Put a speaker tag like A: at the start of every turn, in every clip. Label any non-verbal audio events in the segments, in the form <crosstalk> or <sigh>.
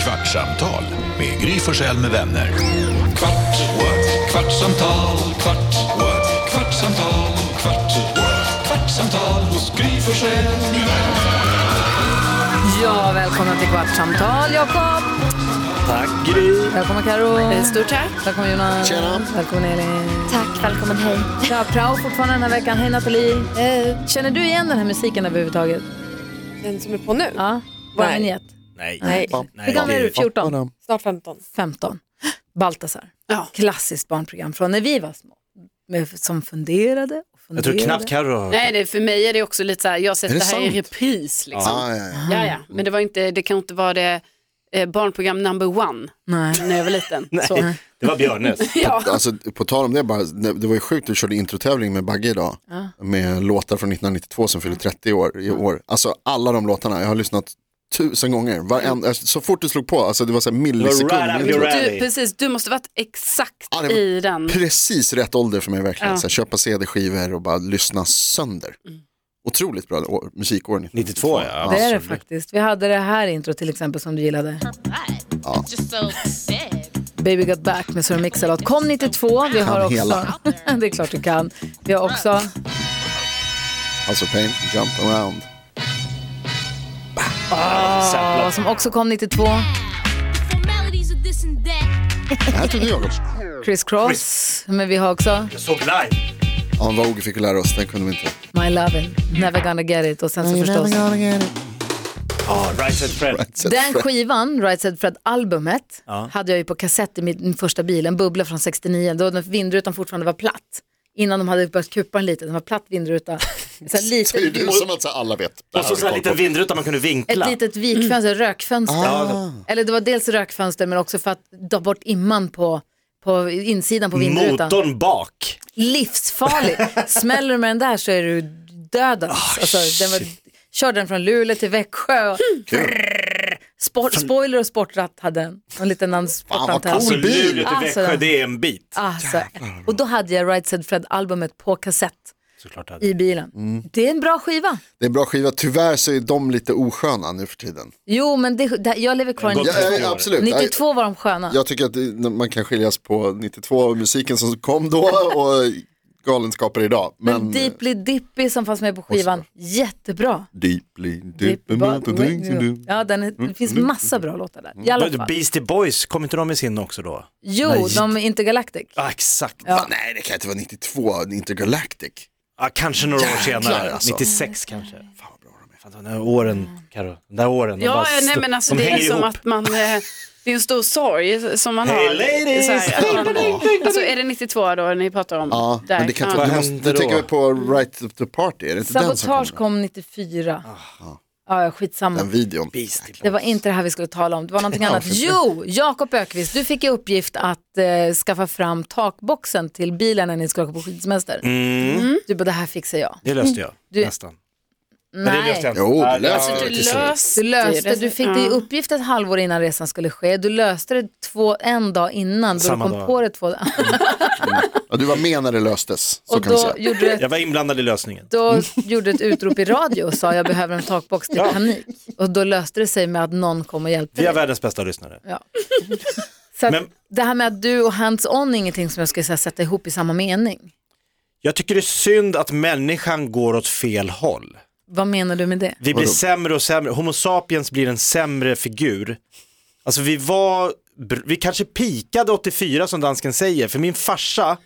A: Kvartsamtal med Gry Forssell med vänner. Kvart, what? kvartsamtal, kvart, what? kvartsamtal, kvart, what? kvartsamtal hos Gry Forssell med vänner.
B: Ja, välkomna till Kvartsamtal, Jakob.
C: Tack Gry.
B: Välkommen Karo.
D: Stort tack.
B: Välkommen Jonas.
C: Tjena.
B: Välkommen Elin.
D: Tack, välkommen hej.
B: Ja, prao fortfarande den här veckan. Hej Nathalie. Känner du igen den här musiken överhuvudtaget?
D: Den som är på nu?
B: Ja, vår
D: Nej.
B: vignett.
C: Nej.
D: Nej.
B: Hur gammal är du? 14?
C: Papporna.
D: Snart 15.
B: 15. Baltasar.
D: Ja.
B: Klassiskt barnprogram från när vi var små. Med, som funderade och
C: Jag
B: funderade.
C: tror knappt Carro har hört
E: Nej, det, för mig är det också lite så här, jag har sett
C: Är det
E: det, här i
C: sant?
E: repris. Liksom.
F: Ah, ja, ja.
E: Ja, ja. Men det, var inte, det kan inte vara det eh, barnprogram number one
B: Nej.
E: när jag var
F: <laughs>
E: liten.
C: Nej,
E: Så.
C: det var <laughs> Björnes.
E: Ja.
F: Alltså, på tal om det bara, det det var ju sjukt att du körde introtävling med Bagge idag. Med låtar från 1992 som fyller 30 år i år. Alltså alla de låtarna, jag har lyssnat tusen gånger. Varenda, alltså, så fort du slog på, alltså det var så här millisekund.
C: Right up your
E: Du,
C: alley.
E: precis, du måste varit exakt
F: Ja, det var-
E: i den.
F: Precis rätt ålder för mig verkligen.
E: Ja. Mm.
F: Så här, köpa CD-skivor och bara lyssna sönder. Otroligt bra år, musikår.
C: 92 ja.
B: Det är det faktiskt. Vi hade det här intro till exempel som du gillade.
G: just so sad.
B: Baby Got Back med Sir Mix-a-Lot. Kom 92. Vi har
F: Kan
B: också...
F: hela.
B: <laughs> det är klart du kan. Vi har också...
F: Alltså pain, jump around.
B: Ja,
C: Samplat.
B: som också kom 92.
G: <laughs> Formalities of this and that.
F: Det här trodde jag också.
B: Chris Cross. Men vi har också
C: Jag såg live.
F: Ja, vad Oge fick vi lära oss, den kunde vi inte.
B: My Lovin', Never Gonna Get It och sen så förstås
C: Ja, Rise and Fred.
F: Right, set,
B: den
F: fred.
B: skivan, Right Said Fred-albumet,
C: Ja.
B: hade jag ju på kassett i min, min första bil, en bubbla från 69, då den vindrutan fortfarande var platt. Innan de hade börjat kupa den lite, den var platt vindruta. Så här
F: Det är ju
B: liten,
F: du som att så här, alla vet. Det
C: Och
F: här
C: så en
F: har vi koll
C: liten
F: på.
C: vindruta man kunde vinkla.
B: ett litet vikfönster, rökfönster.
F: Mm. Ah.
B: Eller det var dels rökfönster men också för att ta bort imman på, på insidan på vindrutan.
C: Motorn bak.
B: livsfarlig. Smäller du med den där så är du dödens. alltså, den var, körde den från Luleå till Växjö. Och
F: Hmm.
B: sport, spoiler och sportratt hade den. Och en liten annan sportantenn.
C: Alltså Luleå till
B: Alltså,
C: Växjö, det är en bit.
B: alltså, och då hade jag Right Said Fred-albumet på kassett
C: Såklart hade.
B: i bilen.
F: Mm.
B: Det är en bra skiva.
F: Det är en bra skiva, tyvärr så är de lite osköna nu för tiden.
B: Jo, men det, det, jag lever kvar i
C: Ja,
F: Ja,
B: 92.
F: ja, absolut. Jag-
B: 92 var de sköna.
F: Jag tycker att det- man kan skiljas på 92 och musiken som kom då och galenskaper idag. Men,
B: men Deeply Dippy som fanns med på skivan, jättebra.
F: Deeply, deeply, deeply.
B: Ja, den,
F: Mm,
B: är- det finns massa bra låtar där. I alla fall.
C: Beastie Boys, kom inte de med sin också då?
B: Jo, de är Intergalactic.
C: Ja, exakt.
F: Ja. Ah, Nej, det kan inte vara 92, Intergalactic.
C: Ja, kanske några år
F: Jäklar,
C: senare,
F: alltså.
C: 96 kanske. Fan vad bra de är. Fan, de där åren, Carro. De där åren, de
E: Ja,
C: bara
E: nej, men alltså,
C: de
E: det är
C: hänger
E: som
C: ihop.
E: att man, eh, det är en stor sorg som man
C: Hey,
E: har.
C: ladies!
E: Så här, att man, alltså, är det 92 då ni pratar om?
F: Ja, men det kan
E: Ja.
F: inte vara, du,
C: Vad
F: måste,
C: hände
F: du tänker
C: då?
F: väl på Right of the Party, är det inte den som kom?
B: Sabotage kom 94. Ja, ja, skitsamma.
F: Den videon.
C: Beastie Boys.
B: Det var inte det här vi skulle tala om, det var
F: <laughs>
B: någonting annat. Jo, Jakob Ökvist, du fick i uppgift att eh, skaffa fram takboxen till bilen när ni skulle åka på skidsemester.
F: Mm.
B: Du bara, det här fixar jag.
C: Mm. Det löste jag,
B: Mm. Du-
C: nästan. Men det löste
B: Nej,
C: jag
F: Jo, det
C: Ja,
F: löste
E: Alltså, du
F: till slut.
E: löste
B: du löste, du fick det i
E: Ja.
B: uppgift ett halvår innan resan skulle ske. Du löste det två, en dag innan, då du
C: Samma
B: kom
C: dag.
B: på det två
F: Ja, du var med när det löstes, så
B: <laughs> Och
F: kan vi
B: då
F: säga.
B: gjorde du ett
C: Jag var inblandad i lösningen.
B: då gjorde ett utrop i radio och sa jag behöver en takbox till panik. Och då löste det sig med att någon kom och hjälpte
C: Vi
B: dig.
C: har världens bästa lyssnare.
B: Så att
C: Men-
B: det här med att du och hands-on är ingenting som jag skulle säga sätta ihop i samma mening.
C: Jag tycker det är synd att människan går åt fel håll.
B: Vad menar du med det?
C: Vi blir sämre och sämre. Homo sapiens blir en sämre figur. Alltså vi var, br- vi kanske pikade 84 som dansken säger, för min farsa,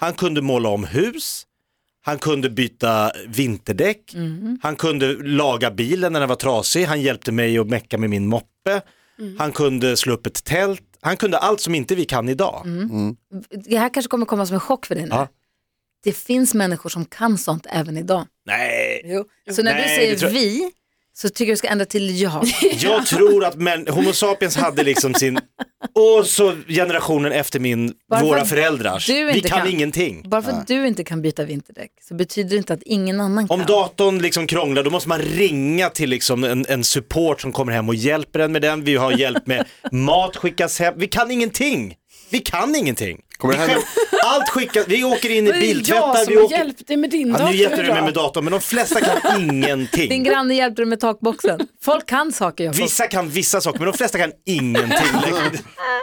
C: han kunde måla om hus, han kunde byta vinterdäck, han kunde laga bilen när den var trasig, han hjälpte mig att mecka med min moppe, han kunde slå upp ett tält, han kunde allt som inte vi kan idag.
B: Det här kanske kommer komma som en chock för dig nu.
C: Ja.
B: Det finns människor som kan sånt även idag.
C: Nej,
B: Så när du
C: Nej,
B: säger
C: det tror jag-
B: vi så tycker jag du ska ändra till jag.
C: <laughs> Jag tror att men, Homo sapiens hade liksom sin, och så generationen efter min,
B: Varför
C: våra föräldrars.
B: du
C: Vi
B: inte
C: kan,
B: kan?
C: ingenting.
B: Bara för att du inte kan byta vinterdäck så betyder det inte att ingen annan kan.
C: Om datorn liksom krånglar då måste man ringa till liksom en, en support som kommer hem och hjälper en med den. Vi har hjälp med mat skickas hem. Vi kan ingenting. Vi kan ingenting.
F: Kommer det här,
C: Allt skickas, vi åker in i
E: Det är
C: biltvättar,
E: jag
C: vi
E: som
C: åker...
E: hjälpte dig med din
C: Ja,
E: dator
C: nu hjälpte du mig
E: idag.
C: med datorn, men de flesta
E: <laughs>
C: kan
B: Din
C: ingenting.
B: granne hjälpte dig med takboxen. Folk kan saker Jakob.
C: Vissa kan vissa saker, men de flesta kan
E: <laughs>
C: ingenting.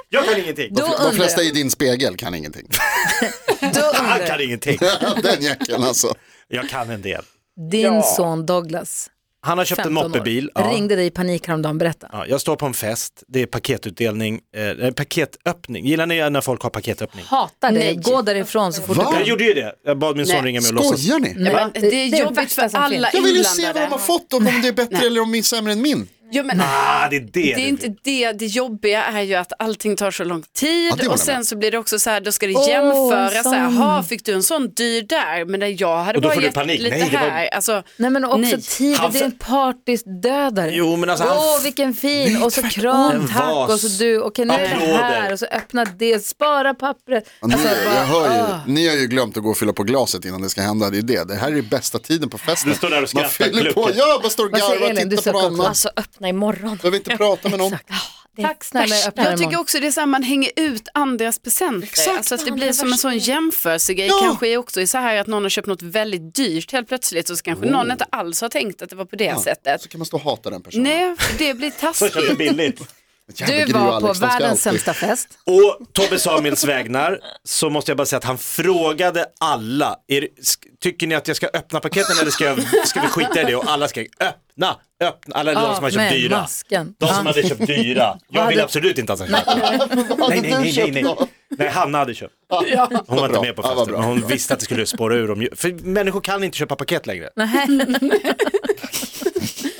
C: Jag kan ingenting.
B: Då
F: De
B: undrar
F: flesta i din spegel kan ingenting. <laughs>
B: jag, då
C: Han
B: undrar
C: kan
B: jag.
C: ingenting.
F: Den jäkeln alltså.
C: Jag kan en del.
B: Din son Douglas,
C: Han har köpt en
B: 15 år,
C: moppebil. Ja.
B: ringde dig i panik häromdagen. Berätta.
C: Ja, jag står på en fest, det är paketutdelning, eh, nej, paketöppning. Gillar ni när folk har paketöppning?
B: Hatar dig,
E: Nej.
B: gå därifrån så fort
F: Va?
B: du kan.
C: Jag gjorde ju det, jag bad min son
E: Nej,
C: ringa mig och låtsas.
F: Skojar ni?
E: Jag bara,
B: Nej,
E: det,
B: det-
E: är
B: det är
E: jobbigt
B: värsta
E: för
B: som
E: alla
B: finns.
F: Jag vill ju se vad de har
E: inblandade.
F: fått och om det är bättre eller om det är sämre än min.
E: Jo, men,
C: Ah, det är det.
E: det är inte det, det jobbiga är ju att allting tar så lång tid
F: Ja, det håller
E: och
F: jag
E: sen
F: med.
E: så blir det också så här, då ska det
B: Åh, en
E: jämföras, så här,
B: sån.
E: jaha fick du en sån dyr där, men där jag hade
C: Och då
E: bara
C: får du
E: gett
C: panik.
E: lite
C: Nej, det var-
E: här. Alltså,
B: Nej men också
E: Nej.
B: tiden,
C: Han
B: det är
C: för-
B: en partysdödare.
C: Jo, men alltså, han-
B: Åh vilken fin och så kram,
C: En
B: tack
C: vas.
B: och så du, okej nu är det
C: Applåder.
B: här och så öppna det, spara pappret.
F: Ja, Ni,
B: Alltså, bara,
F: jag hör
B: ah.
F: ju, ni har ju glömt att gå och fylla på glaset innan det ska hända. Det är det. Det här är ju bästa tiden på festen.
C: Du står där och
F: Man
C: skrattar,
F: fyller på.
C: klucken.
F: Jag bara står och
B: Vad säger
F: garvar
B: Elin?
F: och
B: Du
F: tittar på
B: söker
F: något annat.
B: också.
H: Alltså öppna imorgon.
F: Behöver inte prata med någon.
B: Tack snälla, jag öppnar
E: Jag tycker
B: imorgon.
E: också det är så här, man hänger ut andras presenter. alltså att det blir som en sån jämförelsegrej.
F: Ja.
E: Kanske är också så här att någon har köpt något väldigt dyrt helt plötsligt och så kanske
C: Oh.
E: någon inte alls har tänkt att det var på det sättet.
F: Så kan man stå och hata den personen.
E: Nej, för
C: <laughs>
E: det blir
C: Så köpte
E: taskigt.
C: billigt.
F: Jävla
B: Du
F: Gry och
B: var på
F: Alex, de ska
B: världens
F: alltid-
B: sämsta fest.
C: Å Tobbe Samuels vägnar så måste jag bara säga att han frågade alla, är, det- sk- tycker ni att jag ska öppna paketen eller ska, jag, ska vi skita i det? Och alla skrek öppna, öppna, alla de som hade köpt
B: med
C: dyra.
B: masken.
C: De
B: Ja.
C: som hade
B: <laughs>
C: köpt dyra. Jag vill
B: hade-
C: absolut inte att han
B: <laughs>
C: ska köpa. Nej, nej, nej, nej, nej. Nej, Hanna hade köpt. Hon var inte
F: Bra.
C: med på
F: Ja, vad
C: festen,
F: bra.
C: men hon visste att det skulle spåra ur om För människor kan inte köpa paket längre. <laughs>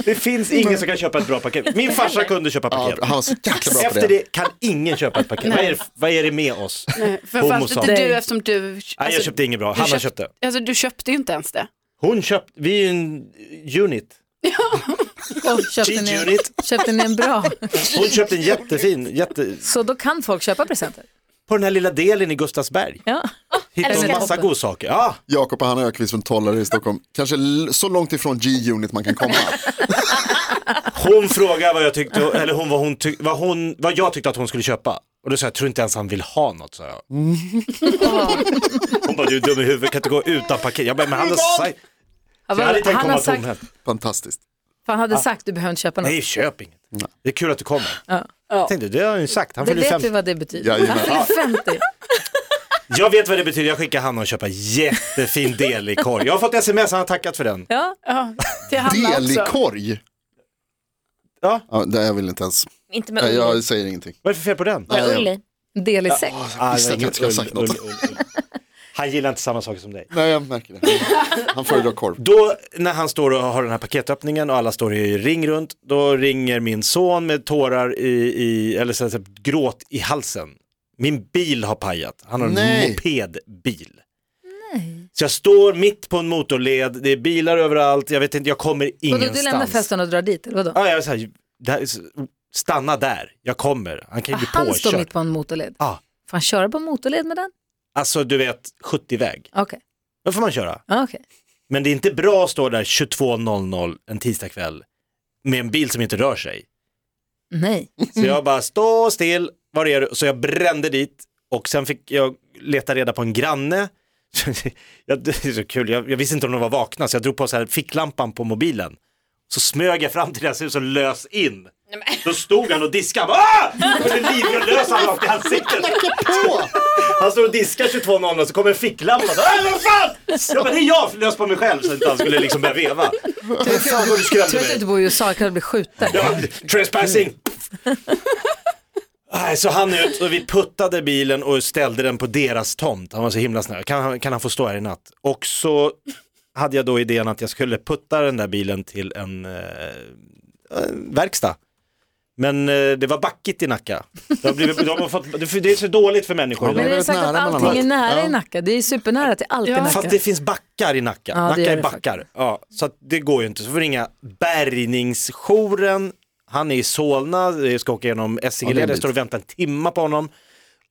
C: Det finns ingen som kan köpa ett bra paket. Min farsa kunde köpa
F: Ja,
C: paket.
F: han var så jäkla bra på
C: Efter
F: det.
C: det kan ingen köpa ett paket. Vad är, vad är det med oss?
E: Framförallt
C: Homosam.
E: inte du eftersom du... alltså,
C: Nej, jag köpte inget bra.
E: du
C: Hanna
E: köpt-
C: köpte.
E: Alltså du köpte ju inte ens det.
C: Hon köpte, vi är ju en unit.
B: Och köpte ni,
C: G-unit.
B: köpte ni en bra?
C: Hon köpte en jättefin, jätte...
B: Så då kan folk köpa presenter.
C: På den här lilla delen i Gustavsberg.
B: Ja.
C: Hittade hon
B: älskar
C: massa
B: Tobbe.
C: godsaker. Ja,
F: Jakob och Hanna Öqvist från Tollare i Stockholm. Kanske l- så långt ifrån G-Unit man kan
B: <laughs>
F: komma.
C: hon frågade vad jag tyckte, eller hon, vad, hon tyck, vad, hon, vad jag tyckte att hon skulle köpa. Och då sa jag, jag tror inte ens han vill ha något,
B: <laughs>
C: sa jag. Hon bara, du är dum i huvudet, kan inte gå utan paket. Jag bara, men han har sagt, jag hade tänkt
B: han,
C: komma
B: har sagt,
C: tomhänt.
F: Fantastiskt.
B: för han hade sagt du behöver inte köpa något.
C: Nej, köp inget. Det är kul att du kommer.
B: Ja.
C: Jag tänkte, det har han ju sagt, han
B: det
C: fyller
B: vet du
C: 50.
B: vad det betyder.
F: Jajamän.
B: Han fyller 50.
C: Jag vet vad det betyder, jag skickar Hanna och köpa jättefin del i korg. Jag har fått sms, han har tackat för den.
B: Ja.
E: Ja, till Hanna också.
F: Delikorg.
C: Ja.
F: ja, det jag vill inte ens.
H: Inte med
F: Jag, jag
H: Ulli.
F: säger ingenting.
C: Vad är det för fel på den?
F: Nej, jag-
H: Ulli.
B: Del i sex.
C: Ah,
F: Visst att jag inte skulle ha sagt något. <laughs>
C: Han gillar inte samma saker som dig.
F: Nej, jag märker det. Han föredrar korv.
C: Då när han står och har den här paketöppningen och alla står i ring runt, då ringer min son med tårar i, i eller så, så, gråt i halsen. Min bil har pajat, han har en
F: Nej.
C: mopedbil. Så jag står mitt på en motorled, det är bilar överallt, jag vet inte, jag kommer
B: Vadå,
C: ingenstans.
B: du lämnar festen och drar dit, eller vadå?
C: Ja, jag är så här, det här, är så- stanna där, jag kommer. Han kan ju bli
B: Han
C: påkörd.
B: står mitt på en motorled.
C: Ja.
B: Får han köra på en motorled med den?
C: Alltså du vet, 70-väg.
B: Okej.
C: Då får man köra.
B: Ja, okej.
C: Men det är inte bra att stå där 22.00 en tisdagkväll med en bil som inte rör sig.
B: Nej.
C: Så jag bara, stå still, var är du? Så jag brände dit och sen fick jag leta reda på en granne. <laughs> jag, det är så kul, jag, jag visste inte om de var vakna så jag drog på så här ficklampan på mobilen. Så smög jag fram till deras hus och lös in. Då stod han och diskade. Han bara, "Ah!" Jag blev livrädd, lös han rakt i ansiktet. Han står och diskar 22.00 så kommer en ficklampa. Så, "Äh, vad fan! Jag bara, det är jag! Lös på mig själv så att inte han skulle liksom börja veva. Men Fan vad
B: Tur
C: du skrämde
B: att du
C: mig.
B: inte bor i USA, jag kunde bli skjuten.
C: Ja, trespassing! Nej, så han ut och vi puttade bilen och ställde den på deras tomt. Han var så himla snäll. Kan, han- kan han få stå här i natt? Och så hade jag då idén att jag skulle putta den där bilen till en, eh, en verkstad. Men eh, det var backigt i Nacka. Det, har blivit, de har fått, det- för det är så dåligt för människor
B: Men
C: idag.
B: det är
F: väldigt
B: sagt att
F: nära mellan
B: allting är
F: allt.
B: nära i
F: Ja.
B: Nacka. Det är ju supernära till allt i
E: Ja.
B: Nacka.
C: Fast det finns backar i Nacka.
B: det gör
C: Nacka
B: det
C: är backar. Ja, så att det går ju inte. Så får vi ringa bärgningsjouren. Han är i Solna, vi ska åka genom
F: Ja, det är
C: Essingeleden,
F: en
C: jag
F: bit.
C: står och väntar en timma på honom.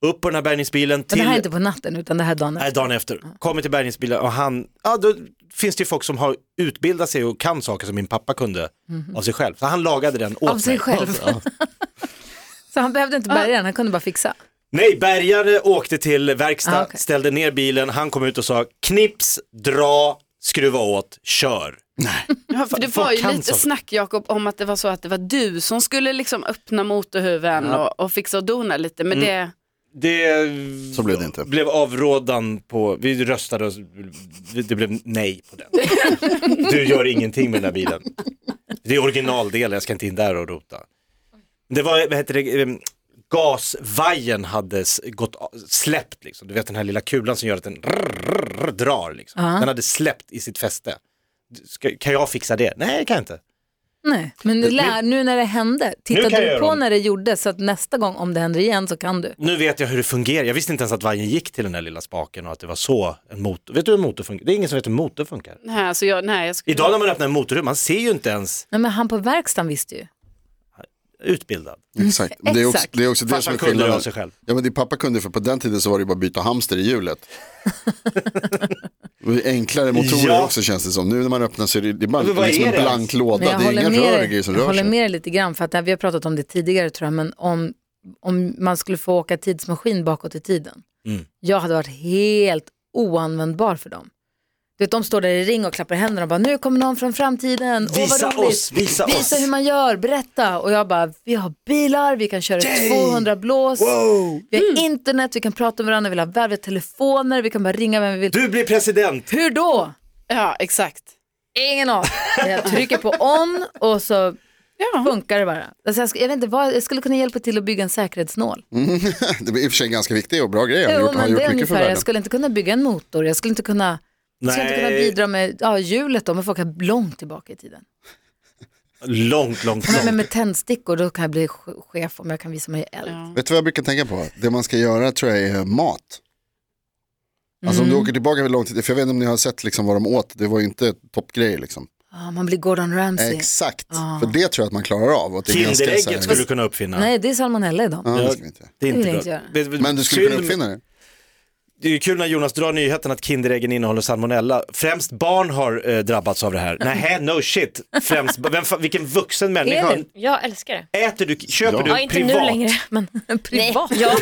C: Upp på den här bärgningsbilen
B: Men
C: till...
B: det här är inte på natten, utan det här är dagen
C: Nej,
B: efter.
C: dagen efter. Kommer till bärgningsbilen och han, ja då finns det ju folk som har utbildat sig och kan saker som min pappa kunde av sig själv. Så han lagade den åt
B: Mhm. Av sig
C: mig.
B: själv. Så han behövde inte bärga den, han kunde bara fixa.
C: Nej, bärgare åkte till verkstad,
B: Ah, okej.
C: ställde ner bilen, han kom ut och sa knips, dra, skruva åt, kör.
E: Ja, för det
C: Folk
E: var ju
C: kan
E: lite
C: saker.
E: snack Jakob om att det var så att det var du som skulle liksom öppna motorhuven och, och fixa och dona lite. Men
C: Mm.
E: det,
C: Det
F: Så blev det inte.
C: blev avrådan på, vi röstade och det blev nej på den. Du gör ingenting med den här bilen. Det är originaldel, jag ska inte in där och rota. Det var, vad heter det, eh, gasvajern hade s- gått, a- släppt liksom. Du vet den här lilla kulan som gör att den rrrr, drar liksom. Den hade släppt i sitt fäste. Ska, kan jag fixa det? Nej, det kan jag inte.
B: Nej, men det lär, nu när det hände,
C: Nu kan
B: tittade
C: jag
B: du
C: göra
B: på
C: om.
B: när det gjordes så att nästa gång om det händer igen så kan du.
C: Nu vet jag hur det fungerar. Jag visste inte ens att vajern gick till den där lilla spaken och att det var så en motor. Vet du hur en motor funkar? Det är ingen som vet hur en motor funkar.
E: nej, alltså jag, nej, jag skulle...
C: Idag när man öppnar en motorhuv, man ser ju inte ens
B: Nej, men han på verkstaden visste ju.
C: utbildad.
F: Exakt. Men Det är också
B: Exakt.
F: det, är också det
C: Farsan
F: som är
C: kunde det av
F: skillnaden.
C: sig själv.
F: Ja, men din pappa kunde för på den tiden så var det bara att byta hamster i hjulet. Det är enklare motorer
C: Ja.
F: också känns det som. Nu när man öppnar så är det, det är bara
C: Men vad
F: liksom
C: är
F: en
C: det?
F: blank låda.
B: Men jag
F: Det är
B: håller
F: inga
B: med
F: rör och
B: dig-
F: grejer som
B: jag
F: rör
B: håller
F: sig.
B: med dig lite grann, för att det här- vi har pratat om det tidigare tror jag, men om, om man skulle få åka tidsmaskin bakåt i tiden.
C: Mm.
B: Jag hade varit helt oanvändbar för dem. Du vet, de står där i ring och klappar händerna och bara, nu kommer någon från framtiden. Åh,
C: Visa
B: vad roligt.
C: oss, visa oss."
B: Visa hur man gör, berätta. Och jag bara, vi har bilar, vi kan köra 200 blås, vi har
C: Mm.
B: internet, vi kan prata med varandra, vi har värvet telefoner, vi kan bara ringa vem vi vill.
C: Du blir president!
B: Hur då?
E: Ja, exakt.
B: Ingen
C: <laughs>
B: aning. Jag trycker på on och så
E: Ja.
B: funkar det bara. Alltså jag, sk- jag, vet inte vad, jag skulle kunna hjälpa till att bygga en säkerhetsnål.
F: <laughs> Det är i och för sig ganska viktigt och bra grejer. Han
B: Jo,
F: har gjort, har
B: men det
F: gjort
B: är
F: mycket för
B: ungefär,
F: världen.
B: jag skulle inte kunna bygga en motor, jag skulle inte kunna, jag skulle inte kunna
C: Nej.
B: bidra med ja, hjulet då, men folk är långt tillbaka i tiden.
C: Långt, långt,
B: Men, men
C: långt.
B: med tändstickor, då kan jag bli ch- chef om jag kan visa mig eld.
F: Vet du vad jag brukar tänka på? Det man ska göra tror jag är mat. Alltså om du åker tillbaka väldigt långt, för jag vet inte om ni har sett liksom vad de åt, det var ju inte toppgrejer liksom.
B: Ja, man blir Gordon Ramsay.
F: Exakt, för det tror jag att man klarar av. Och det är ganska så här-
C: Kinderägget skulle du kunna uppfinna.
B: Nej, det är salmonella idag.
F: Ja, det ska vi inte göra.
C: det är
B: det vill
C: inte
B: jag
C: bra.
B: inte göra.
C: Vet- vet-
F: Men du skulle kunna
C: synd-
F: uppfinna det.
C: Det är ju kul när Jonas drar nyheten att Kinderäggen innehåller salmonella. Främst barn har eh, drabbats av det här.
B: Mm.
C: Nähä, no shit.
B: <laughs>
C: Främst, vem, fa- vilken vuxen människa.
B: Elin.
H: Jag älskar det.
C: Äter du, köper
F: Ja.
C: du
H: Ja, inte
C: privat?
H: nu längre. <laughs>
B: Men privat.
H: Nej, ja.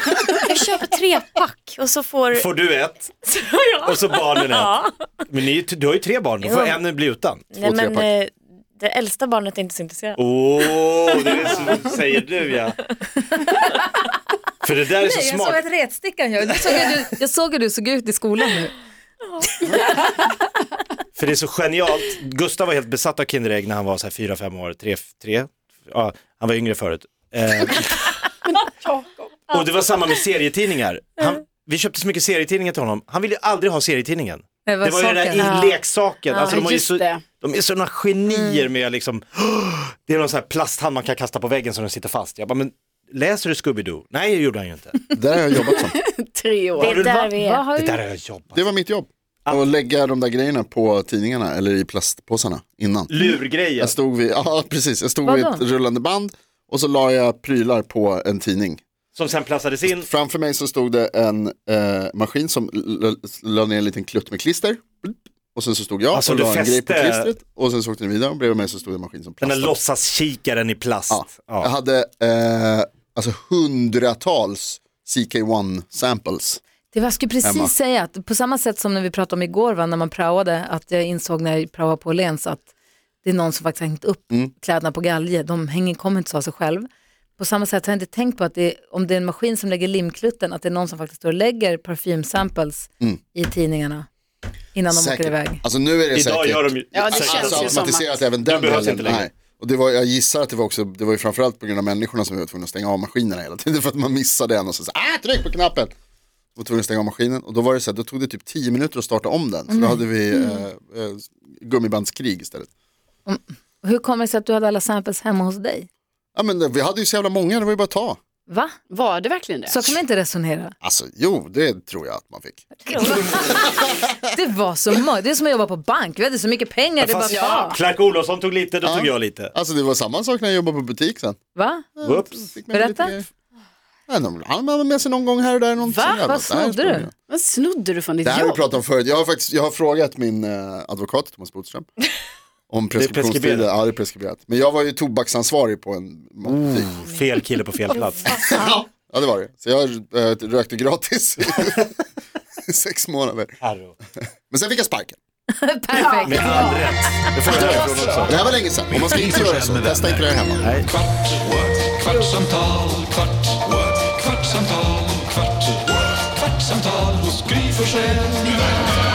H: Jag köper tre pack och så får...
C: Får du ett
H: <laughs> ja.
C: och så barnen ett. Men ni, är ju t- du har ju tre barn, då får
H: Jo.
C: en bli utan.
H: Nej,
F: tre
H: men
F: pack.
H: eh, det äldsta barnet är inte så intresserat.
C: Åh, det är så, säger du ja. För det där är så
B: Nej, jag
C: smart.
B: såg att retstickan gör. Jag såg hur du, jag såg hur du såg ut i skolan nu.
C: För det är så genialt. Gustav var helt besatt av Kinderägg när han var så här 4-5 år, 3, 3. Ja, han var yngre förut. Eh. och det var samma med serietidningar. Han, vi köpte så mycket serietidningar till honom. Han ville ju aldrig ha serietidningen.
B: Det var
C: det var ju den
B: saken.
C: där i leksaken. Alltså,
E: Ja,
C: de, har ju
E: just
C: så,
E: det.
C: de är sådana genier med liksom, det är någon sån här plasthand man kan kasta på väggen så den sitter fast. Jag bara, men läser du Scooby-Doo? Nej, det gjorde han ju inte.
F: Där har jag jobbat som.
E: Tre år.
H: Det är där vi
B: Vad
H: är.
B: har
C: Det
B: du
C: där har jag jobbat.
F: Det var mitt jobb.
C: Ah.
F: Att lägga de där grejerna på tidningarna eller i plastpåsarna innan.
C: Lurgrejen.
F: Jag stod vid, <laughs> ja precis, jag stod vid
B: Vadå?
F: ett rullande band och så la jag prylar på en tidning.
C: Som sen plastades in.
F: Framför mig så stod det en eh, maskin som l- l- la ner en liten klutt med klister. Och sen så stod jag
C: Alltså,
F: och
C: du
F: la en grej på
C: fäste-
F: klistret. Och sen så åkte den vidare och bredvid mig så stod det en maskin som
C: Den där
F: plastade.
C: låtsaskikaren i plast.
F: alltså- Ja. Jag
C: Ja.
F: hade eh, alltså hundratals CK1 samples.
B: Det var- jag skulle precis
F: Emma.
B: säga, att på samma sätt som när vi pratade om igår va, när man praoade, att jag insåg när jag praoade på Åhléns att det är någon som faktiskt har hängt upp
C: Mm.
B: kläderna på galge, de hänger, kommer inte så av sig själv. På samma sätt har jag inte tänkt på att det är, om det är en maskin som lägger limklutten, att det är någon som faktiskt står och lägger parfymsamples
C: Mm.
B: i tidningarna innan de åker iväg.
F: Alltså nu är det
C: Idag
F: säkert.
C: gör de ju...
E: Ja, det
F: Alltså,
E: känns
F: alltså
E: ju som
F: automatiserat
E: att-
F: även den
C: behövs
F: delen.
C: inte längre.
F: Nej. Och det var, jag gissar att det var, också, det var ju framförallt på grund av människorna som vi var tvungna att stänga av maskinerna hela tiden <laughs> för att man missade en och så, så ah, tryck på knappen. Vi var tvungna att stänga av maskinen och då var det så här, då tog det typ 10 minuter att starta om den. Så
B: Mm.
F: då hade vi eh, eh, gummibandskrig istället.
B: Och Hur kommer det sig att du hade alla samples hemma hos dig?
F: Ja men det- vi hade ju så jävla många, det var ju bara att ta.
B: Va?
E: Var det verkligen det?
B: Så kan man inte
C: <laughs>
B: resonera.
F: Alltså jo, det tror jag att man fick.
B: Det var så många, det är som att jobba på bank, vi hade så mycket pengar, det var
C: Fast
B: bara ta.
C: Clark Olofsson tog lite, då
F: Ja.
C: tog jag lite.
F: Alltså det var samma sak när jag jobbade på butik sen.
B: Va?
C: Whoops.
F: Fick med mig lite
B: Berätta.
F: grejer. Nej, de- Han hade med sig någon gång här och där. Någon
E: Va?
F: jävla-
B: Vad snodde
F: Nej,
B: du?
F: jag.
E: Vad snodde du från ditt
F: Det här har vi
E: jobb?
F: pratat om förut. Jag har, faktiskt, jag har frågat min eh, advokat Thomas Bodström om preskriptionstiden.
C: preskriberat.
F: Ja, det är
C: Mm.
F: preskriberat. Men jag var ju tobaksansvarig på en matbutik.
C: Fel kille på fel plats.
F: Ja, Ja det var det. Så jag eh, rökte gratis i <laughs> sex månader.
C: Arro.
F: Men sen fick jag sparken.
B: Perfekt.
C: Med all rätt. Det får jag härifrån också.
F: Det här var länge sedan. Om man ska inte göra så, testa inte det här hemma.
C: Nej.
A: Kvart, what? kvartsamtal, kvart, what? kvartsamtal, kvart, what? kvartsamtal hos Gry Forssell med vänner.